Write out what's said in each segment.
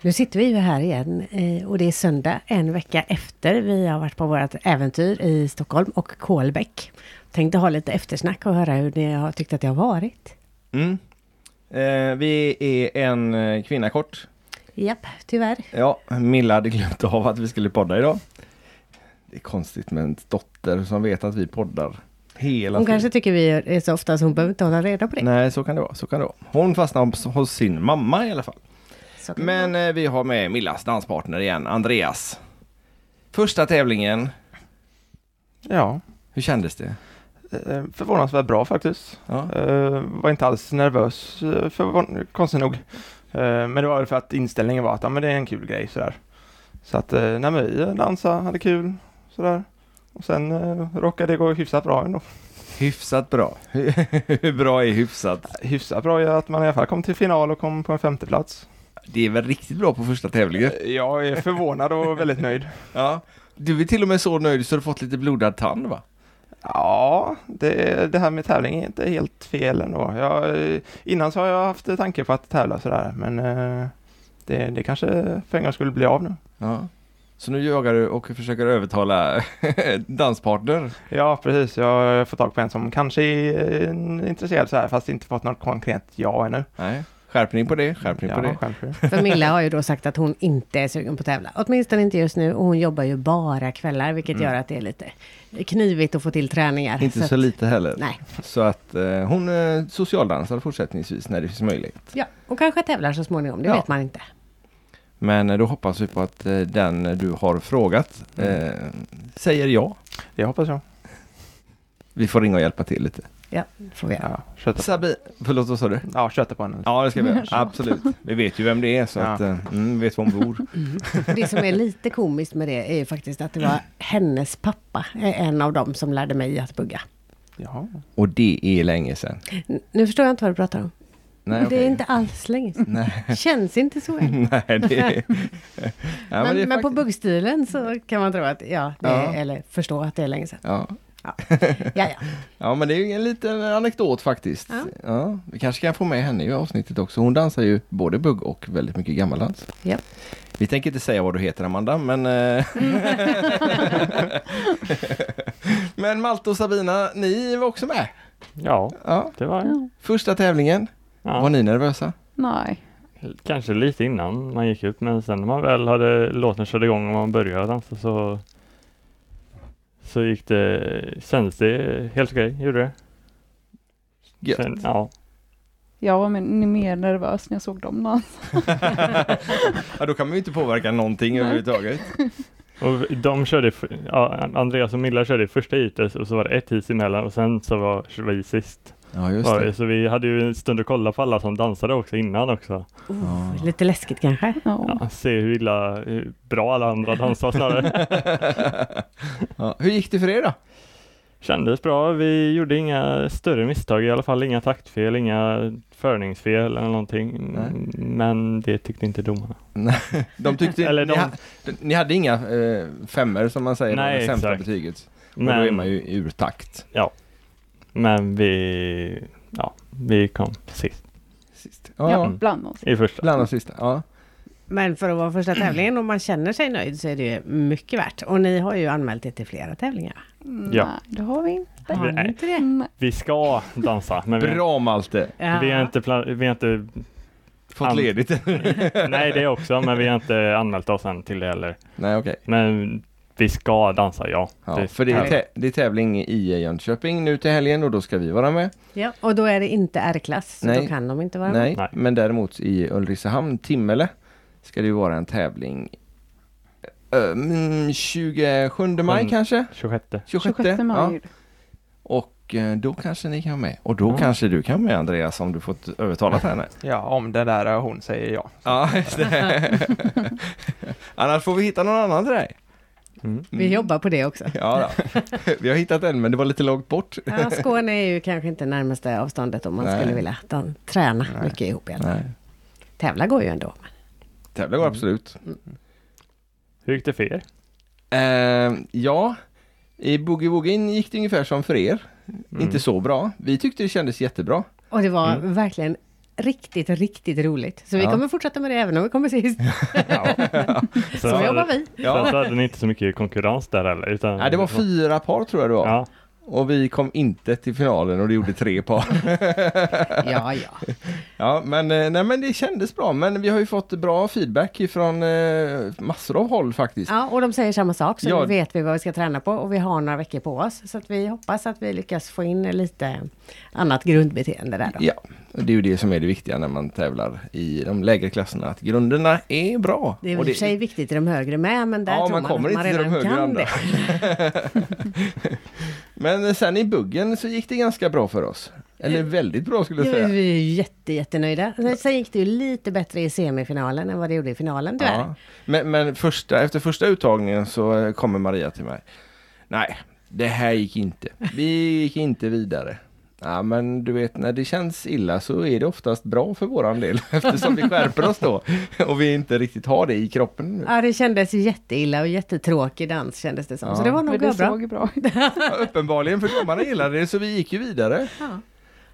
Nu sitter vi ju här igen eh, och det är söndag en vecka efter vi har varit på vårt äventyr i Stockholm och Kolbäck. Tänkte ha lite eftersnack och höra hur ni har tyckt att det har varit. Mm. Eh, vi är en eh, kvinna kort. Japp, tyvärr. Ja, Milla hade glömt av att vi skulle podda idag. Det är konstigt med en dotter som vet att vi poddar hela Hon kanske tycker vi är så ofta så hon behöver inte hålla reda på det. Nej, så kan det vara. Så kan det vara. Hon fastnade hos- hos sin mamma i alla fall. Så kan det Men eh, vi har med Millas danspartner igen, Andreas. Första tävlingen, Ja, hur kändes det? eh, förvånansvärt bra faktiskt. Ja. Eh, Var inte alls nervös, eh, förvån- konstigt nog. Eh, Men det var väl för att inställningen var att ja, men det är en kul grej sådär. Så att eh, nej, men vi dansade, hade kul sådär. Och sen eh, råkade det gå hyfsat bra ändå. Hyfsat bra. hur bra är hyfsat? Hyfsat bra är att man i alla fall kom till final och kom på en femteplats. Det är väl riktigt bra på första tävlingen? Eh, Jag är förvånad och väldigt nöjd. Ja. Du är till och med så nöjd så du fått lite blodad tand va? Ja, det, det här med tävling är inte helt fel ändå. Jag, eh, innan så har jag haft tanke på att tävla sådär, men eh, det, det kanske för en gång skulle bli av nu. Ja. Så nu jagar du och försöker övertala danspartner? Ja, precis. Jag har fått tag på en som kanske är eh, intresserad så här, fast inte fått något konkret ja ännu. Nej. Skärpning på det, skärpning på Ja, det. självklart. För Milla har ju då sagt att hon inte är sugen på att tävla. Åtminstone inte just nu. Och hon jobbar ju bara kvällar, vilket gör att det är lite knivigt att få till träningar. Mm. Inte så, att- lite heller. Nej. Så att eh, hon eh, socialdansar fortsättningsvis när det finns möjlighet. Ja, och kanske tävlar så småningom, det Ja. vet man inte. Men eh, då hoppas vi på att eh, den du har frågat eh, säger ja. Det hoppas jag. Vi får ringa och hjälpa till lite. Ja, får vi göra. Ja, köta, Sabi, förlåt vad sa du? ja, köta på henne. Ja det ska vi göra, absolut. Vi vet ju vem det är så Ja. att, eh, mm, vi vet var hon bor. Det som är lite komiskt med det är ju faktiskt att det var hennes pappa, är en av dem som lärde mig att bugga. Jaha. Och det är länge sedan. N- Nu förstår jag inte vad du pratar om. Nej, Det okej. är inte alls länge sedan. Nej, Känns inte så än. nej det är... Ja, men det är men på faktiskt- buggstilen så kan man tro att, ja, det är, Ja. eller förstå att det är länge sedan. ja. Ja, ja. Ja men det är ju en liten anekdot faktiskt. Ja. Ja. vi kanske kan få med henne i avsnittet också. Hon dansar ju både bugg och väldigt mycket gammaldans. Ja. Vi tänker inte säga vad du heter Amanda men... eh, men Malte och Sabina, ni var också med. Ja, Ja. det var jag. Första tävlingen, var Ja. ni nervösa? Nej. Kanske lite innan man gick ut men sen när man väl hade låten körde igång och man började dansa så så gick det, kändes det helt okej, gjorde det. Gött. Sen, ja, Jag var men- mer nervös när jag såg dem dansa. ja då kan man ju inte påverka någonting överhuvudtaget. och de körde, f- ja, Andreas och Milla körde första heatet och så var det ett heat emellan och sen så var vi sist. Ja just Var det. det. Så vi hade ju en stund att kolla på alla som dansade också innan också. Oh, lite läskigt kanske. Ja. Ja, se hur illa, hur bra alla andra dansade snarare. ja. Hur gick det för er då? Kändes bra. Vi gjorde inga större misstag i alla fall. Inga taktfel, inga förningsfel eller någonting. Nej. Men det tyckte inte domarna. De tyckte Eller ni, de- ha, ni hade inga eh, femmer som man säger, Nej, det sämsta exakt. betyget. Men... Och då är man Men, ju ur takt. men vi, ja, vi kom sist Sist. Ja, Ja, bland oss. i första. bland de sista. Ja. Men för att vara första tävlingen, om man känner sig nöjd, så är det ju mycket värt. Och ni har ju anmält er till flera tävlingar. Ja. Mm, Nej, det har vi inte. Mm, Har ni Nej. inte det? Nej. Vi ska dansa, men vi, Bra Malte! vi Ja. är inte, plan- vi är inte, Fått An- ledigt. nej det också, men vi har inte anmält oss än till det heller. Nej okej. Men vi ska dansa, ja. Ja, Det- för det är, ja. tä- det är tävling i E Jönköping nu till helgen och då ska vi vara med. Ja, och då är det inte R-klass, så Nej. då kan de inte vara med. Nej, Nej. men däremot i Ulricehamn, Timmele, ska det ju vara en tävling um, 27 maj Mm. kanske? 26. 26, 26 Ja. maj. Och eh, då kanske ni kan med. Och då Ja. kanske du kan med Andreas om du fått övertalat henne. Ja, om den där eh, hon säger ja. Ja, just det. Annars får vi hitta någon annan till dig. Mm. Vi jobbar på det också. Ja, då. vi har hittat en men det var lite långt bort. Ja, Skåne är ju kanske inte närmaste avståndet om man Nej. skulle vilja de träna mycket ihop. Igen. Nej. Tävla går ju ändå. Tävlar går absolut. Hur gick det för er? Eh, ja, i Boogie Woogien gick det ungefär som för er. Mm. Inte så bra. Vi tyckte det kändes jättebra. Och det var Mm. verkligen riktigt, riktigt roligt. Så vi Ja. kommer fortsätta med det även om vi kommer sist. Sen Så hade- jobbar vi. Sen Ja. så hade ni inte så mycket konkurrens där heller. Utan Nej, det var fyra par tror jag det var. Ja, Och vi kom inte till finalen och det gjorde tre par. Ja, ja. Ja, men, eh, nej, men det kändes bra. Men vi har ju fått bra feedback från eh, massor av håll faktiskt. ja och de säger samma sak, så Ja. nu vet vi vad vi ska träna på och vi har några veckor på oss. Så att vi hoppas att vi lyckas få in lite annat grundbeteende där då. Ja, och det är ju det som är det viktiga när man tävlar i de lägre klasserna, att grunderna är bra. Det är i Och och för sig viktigt i de högre med, men där Ja, tror man man, kommer att inte man till de redan högre kan andra. det. Men sen i buggen så gick det ganska bra för oss. Eller väldigt bra skulle jag Ja, säga. vi är ju jätte, jättenöjda. Sen- Sen gick det ju lite bättre i semifinalen än vad det gjorde i finalen tyvärr. Ja. Men, men första, efter första uttagningen så eh, kommer Maria till mig. Nej, det här gick inte. Vi gick inte vidare. Ja, men du vet när det känns illa så är det oftast bra för våran del eftersom vi skärper oss då och vi inte riktigt har det i kroppen nu. Ja, det kändes ju jätteilla och jättetråkig dans kändes det som. Ja. Så det var nog Men det bra. såg bra ut. Ja, uppenbarligen, för domarna gillade det så vi gick ju vidare. Ja.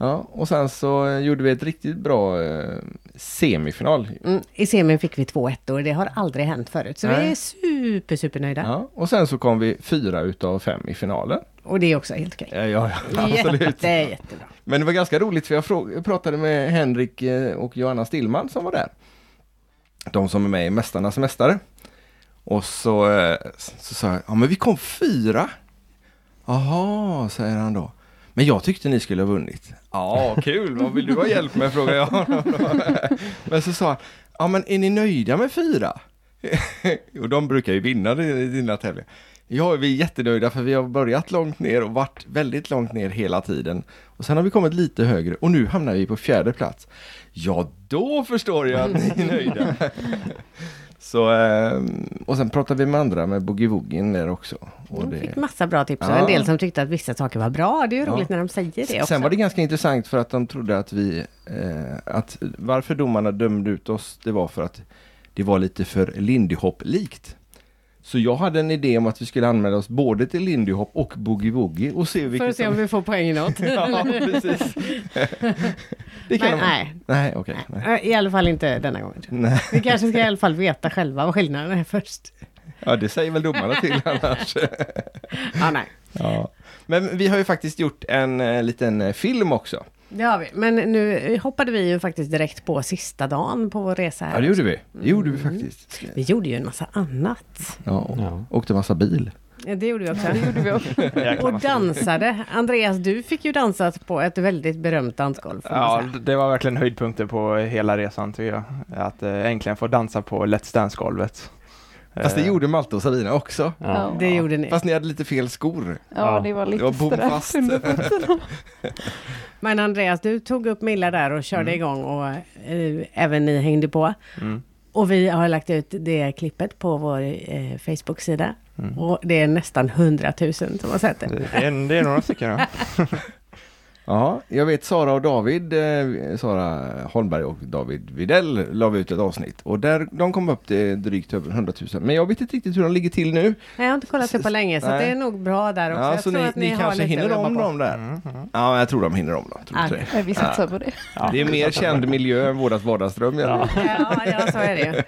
Ja, och sen så eh, gjorde vi ett riktigt bra eh, semifinal. Mm, I semin fick vi två ettor, det har aldrig hänt förut. Så vi Nej. är super, supernöjda. Ja, och sen så kom vi fyra utav fem i finalen. Och det är också helt okej. Ja, ja, ja, absolut. Jätte, jättebra. Men det var ganska roligt för jag frå- pratade med Henrik eh, och Johanna Stillman som var där. De som är med i Mästarnas Mästare. Och så, eh, så sa jag, ja men vi kom fyra. Jaha, säger han då. Men jag tyckte ni skulle ha vunnit. Ja, kul, vad vill du ha hjälp med, frågar jag honom. då. Men så sa han, ja men är ni nöjda med fyra? Och de brukar ju vinna i dina tävlingar. Ja, vi är jättenöjda för vi har börjat långt ner och varit väldigt långt ner hela tiden. Och sen har vi kommit lite högre och nu hamnar vi på fjärde plats. Ja, då förstår jag att ni är nöjda. Så, ehm, och sen pratade vi med andra, med boogie-woogien där också. Och De det- fick massa bra tips och Ja. en del som tyckte att vissa saker var bra. Det är ju Ja. roligt när de säger det också. Sen var det ganska intressant för att de trodde att vi, eh, att varför domarna dömde ut oss, det var för att det var lite för Lindy Hop-likt. Så jag hade en idé om att vi skulle anmäla oss både till Lindy Hop och Boogie Woogie och se För vilket att se om vi får poäng i något. Ja, precis. det kan Men, de... nej, Nej, okej. nej. nej, i alla fall inte denna gången. Nej. Vi kanske ska i alla fall veta själva vad skillnaden är först. Ja, det säger väl domarna till annars. Ja, Ah, nej. ja. Men vi har ju faktiskt gjort en eh, liten eh, film också. Det har vi. Men nu hoppade vi ju faktiskt direkt på sista dagen på vår resa här. Ja, det gjorde vi. Det gjorde vi faktiskt. Vi gjorde ju en massa annat. Ja, och Ja. åkte massa bil. Ja, det gjorde vi också. Det gjorde vi också. Jäkla Och massa- dansade. Andreas, du fick ju dansat på ett väldigt berömt dansgolv. får man Ja, säga. d- det var verkligen höjdpunkter på hela resan tycker jag. Att eh, äntligen få dansa på Let's Dance-golvet. Fast det Eh, gjorde Malte och Sabina också. ja. Det gjorde ni. Fast ni hade lite fel skor. Ja, det var Det var lite bomfast. stress under fötterna. Men Andreas, du tog upp Milla där och körde Mm. igång och eh, även ni hängde på. Mm. Och vi har lagt ut det klippet på vår eh, Facebook-sida. Mm. Och det är nästan hundratusen som har sett det. Det, är, det är några stycken. Ja. Ja, jag vet Sara och David, eh, Sara Holmberg och David Videll la vi ut ett avsnitt och där de kom upp till drygt över 100 000. Men jag vet inte riktigt hur de ligger till nu. Nej, jag har inte kollat det på länge, så Nej. det är nog bra där också. Ja, jag så tror ni, att ni, ni har kanske lite att hinner jobba om på. dem där. Mm, mm. Ja, jag tror de hinner om dem. Tror inte Ja. det. Nej, Vi satsar på det. Ja. det är mer känd miljö än vårat vardagsrum. Ja. Ja, ja, så är det ju.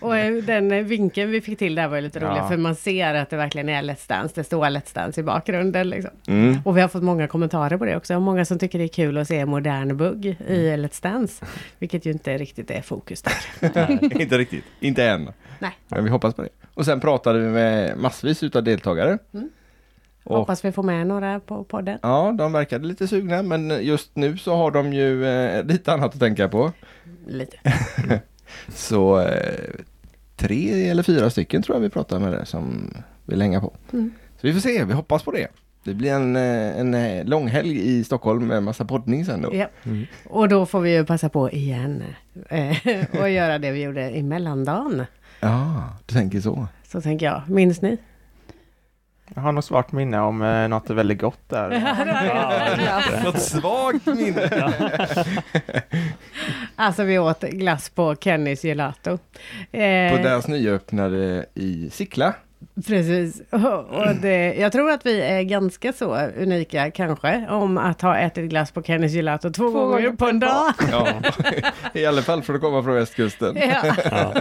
Och eh, den eh, vinkeln vi fick till där var ju lite rolig, Ja. för man ser att det verkligen är Let's Dance. Det står Let's Dance i bakgrunden liksom. Mm. Och vi har fått många kommentarer på det också. Många som tycker det är kul att se modern bugg i Mm. Let's Dance. Vilket ju inte riktigt är fokus där. inte riktigt, inte än. Nej. Men vi hoppas på det. Och sen pratade vi med massvis utav deltagare. Mm. Och Hoppas vi får med några på podden. Ja, de verkade lite sugna men just nu så har de ju eh, lite annat att tänka på. Lite. Så eh, tre eller fyra stycken tror jag vi pratar med det som vill hänga på. Mm. Så vi får se, vi hoppas på det. Det blir en, eh, en eh, lång helg i Stockholm med massa poddning sen då. Ja. Mm. Och då får vi ju passa på igen eh, och göra det vi gjorde i mellandagen. Ja, du tänker så. Så tänker jag. Minns ni? Jag har nog svart minne om eh, något väldigt gott där. Något svagt minne. Alltså vi åt glass på Kennys gelato. Eh, På deras nyöppnade i Sickla. Precis. Och- Och det, jag tror att vi är ganska så unika kanske, om att ha ätit glass på Kennys Gelato två, gånger, på en dag. Ja. I alla fall för att komma från västkusten. Ja. Ja.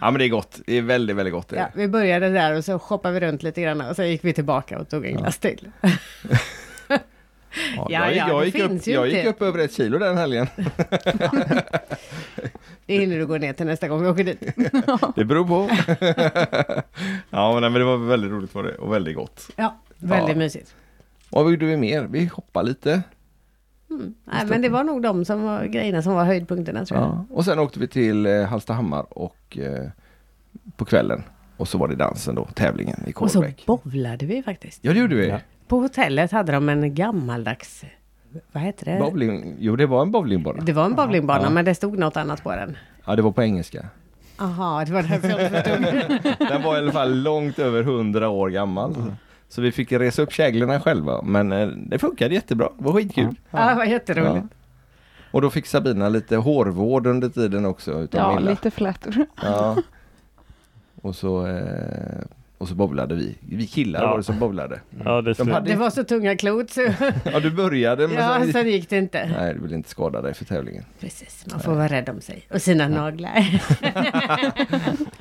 Ja men det är gott. Det är väldigt, väldigt gott. Är Ja, det. vi började där och så shoppade vi runt lite grann och sen gick vi tillbaka och tog en glass till. Ja, Ja, jag, ja, jag, det gick finns upp, ju jag inte. gick upp över ett kilo den helgen. Det hinner du gå ner till nästa gång vi åker dit. Det beror på. ja men, nej, men det var väldigt roligt var det och väldigt gott. Ja, väldigt Ja. mysigt. Vad gjorde vi mer? Vi hoppade lite. Mm. Nej, men det var nog de som var, grejerna som var höjdpunkterna tror jag. Ja. Och sen åkte vi till eh, Hallstahammar och eh, på kvällen. Och så var det dansen då, tävlingen i Och så Kolbäck. bowlade vi faktiskt. Ja det gjorde vi. Ja. På hotellet hade de en gammaldags, vad heter det? Eh. Bowling. Jo det var en bowlingbana. Det var en bowlingbana, Ja. men det stod något annat på den. Ja det var på engelska. Aha, det var därför jag inte förstod. Den var i alla fall långt över 100 år gammal. Mm. Så vi fick resa upp käglorna själva. Men eh, det funkade jättebra. Det var skitkul. ja, det var jätteroligt. Ja. Och då fick Sabina lite hårvård under tiden också. Utan Ja, Milla. lite flätor. Ja. Och så, eh, och så bowlade vi. Vi killar Ja. var det som bowlade. ja, det är De slut. hade- Det var så tunga klot så Ja, du började men ja, sen... sen gick det inte. Nej, du vill inte skada dig för tävlingen. Precis, man får vara rädd om sig och sina naglar.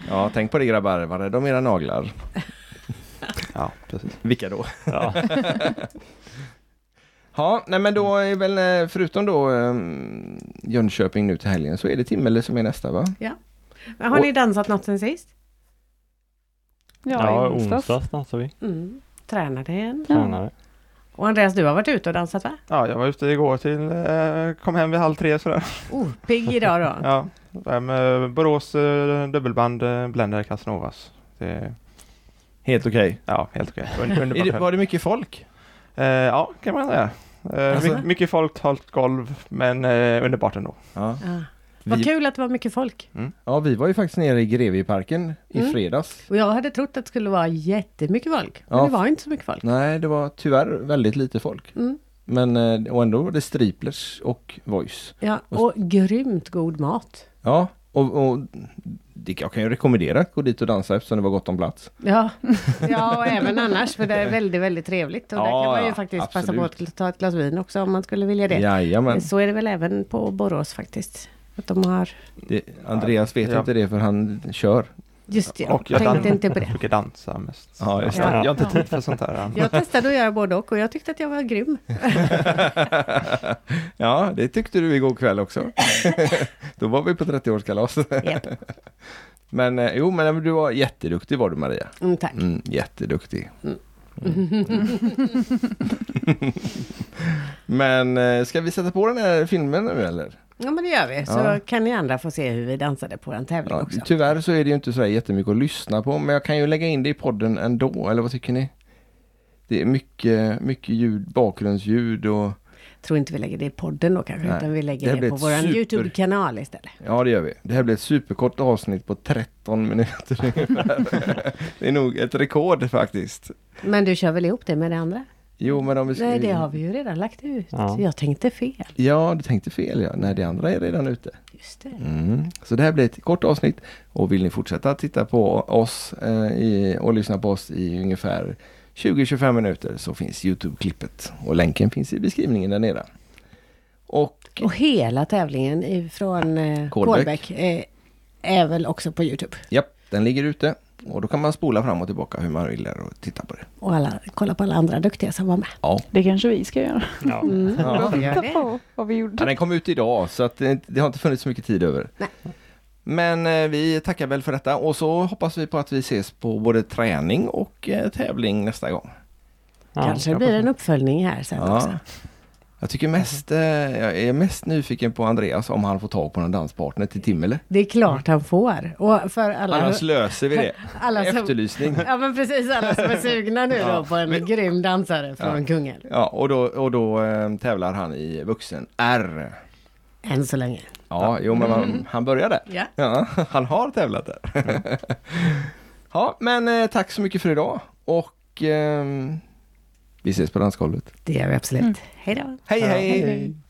Ja, tänk på det grabbar. Var rädda om era naglar. Ja, precis. Vilka då? Ja. Ja, nej men då är väl eh, förutom då eh, Jönköping nu till helgen så är det Timmele som är nästa va? Men har Och- ni dansat något sen sist? Ja, Ja, i onsdags. onsdags dansade vi. Mm. Tränade igen. Tränare. Och Andreas, du har varit ute och dansat va? Ja, jag var ute igår till, eh, kom hem vid halv tre sådär. Oh, pigg idag då. Ja, där med Borås eh, dubbelband eh, Blender Casanovas. Det är, Helt okej. ja, helt okej. Un- Underbart. Är det- Var det mycket folk? Eh, ja, kan man säga. Eh, Alltså? my- mycket folk, halt golv, men eh, underbart ändå. Ja. Ja. Vad Vi, kul att det var mycket folk. ja, vi var ju faktiskt nere i Grevieparken i Mm. fredags. Och jag hade trott att det skulle vara jättemycket folk. Men Ja. det var inte så mycket folk. Nej, det var tyvärr väldigt lite folk. Mm. Men, eh, och ändå var det striplers och voice. Ja, och grymt god mat. Ja, och, och det, jag kan ju rekommendera att gå dit och dansa eftersom det var gott om plats. Ja. ja, och även annars för det är väldigt, väldigt trevligt. Och där Ja, kan man ju ja, faktiskt passa absolut. på att ta ett glas vin också om man skulle vilja det. Jajamän. Så är det väl även på Borås faktiskt. Att de har... Det, Andreas vet Ja. inte det för han kör. Just det, Och jag jag tänkte dan- inte på det. brukar dansa mest. Ja, just det. Jag har inte Ja. tid för sånt här. Jag testade att göra både och och jag tyckte att jag var grym. ja, det tyckte du igår kväll också. Då var vi på 30-årskalas. Japp. Men eh, jo, men nej, men du var jätteduktig var du Maria. Mm, tack. Mm, jätteduktig. Mm. men eh, ska vi sätta på den här filmen nu eller? Ja men det gör vi. Så Ja. kan ni andra få se hur vi dansade på en tävling Ja, typ. också. tyvärr så är det ju inte så här jättemycket att lyssna på men jag kan ju lägga in det i podden ändå, eller vad tycker ni? Det är mycket, mycket ljud, bakgrundsljud och Tror inte vi lägger det i podden då kanske, Nej, utan vi det lägger här det, blir på ett vår super- YouTube-kanal istället. ja det gör vi. Det här blir ett superkort avsnitt på 13 minuter ungefär. Det är nog ett rekord faktiskt. Men du kör väl ihop det med det andra? Jo men om vi ska... Nej, det har vi ju redan lagt ut. Ja. Jag tänkte fel. Ja, du tänkte fel ja. Nej, det andra är redan ute. Just det. Mm. Så det här blir ett kort avsnitt och vill ni fortsätta att titta på oss eh, i, och lyssna på oss i ungefär 20-25 minuter så finns Youtube-klippet och länken finns i beskrivningen där nere. Och Och hela tävlingen ifrån eh, Kolbäck. Kolbäck eh, är väl också på YouTube. ja, den ligger ute och då kan man spola fram och tillbaka hur man vill där och titta på det. Och alla, kolla på alla andra duktiga som var med. Ja. Det kanske vi ska göra. Ja. Mm. Ja. vi gör Titta det. på vad vi Ja, gjorde. den kom ut idag så att det, det har inte funnits så mycket tid över. Nej. Men eh, vi tackar väl för detta och så hoppas vi på att vi ses på både träning och eh, tävling nästa gång. Ja. Kanske blir det en uppföljning här sen Ja. också. Jag tycker mest, eh, Mm. jag är mest nyfiken på Andreas om han får tag på någon danspartner till Timmele. Det är klart han får. Och för alla... Annars löser vi det. alla som- Efterlysning. Ja men precis, alla som är sugna nu då på en grym dansare från Kungälv. Ja, och då, och då eh, tävlar han i vuxen R. Än så länge. Ja, jo men Mm. man, han börjar där. Ja. Ja, han har tävlat där. Ja, men eh, tack så mycket för idag och ehm, vi ses på dansgolvet. Mm. Det gör vi absolut. Hej då. Hej hej! hej.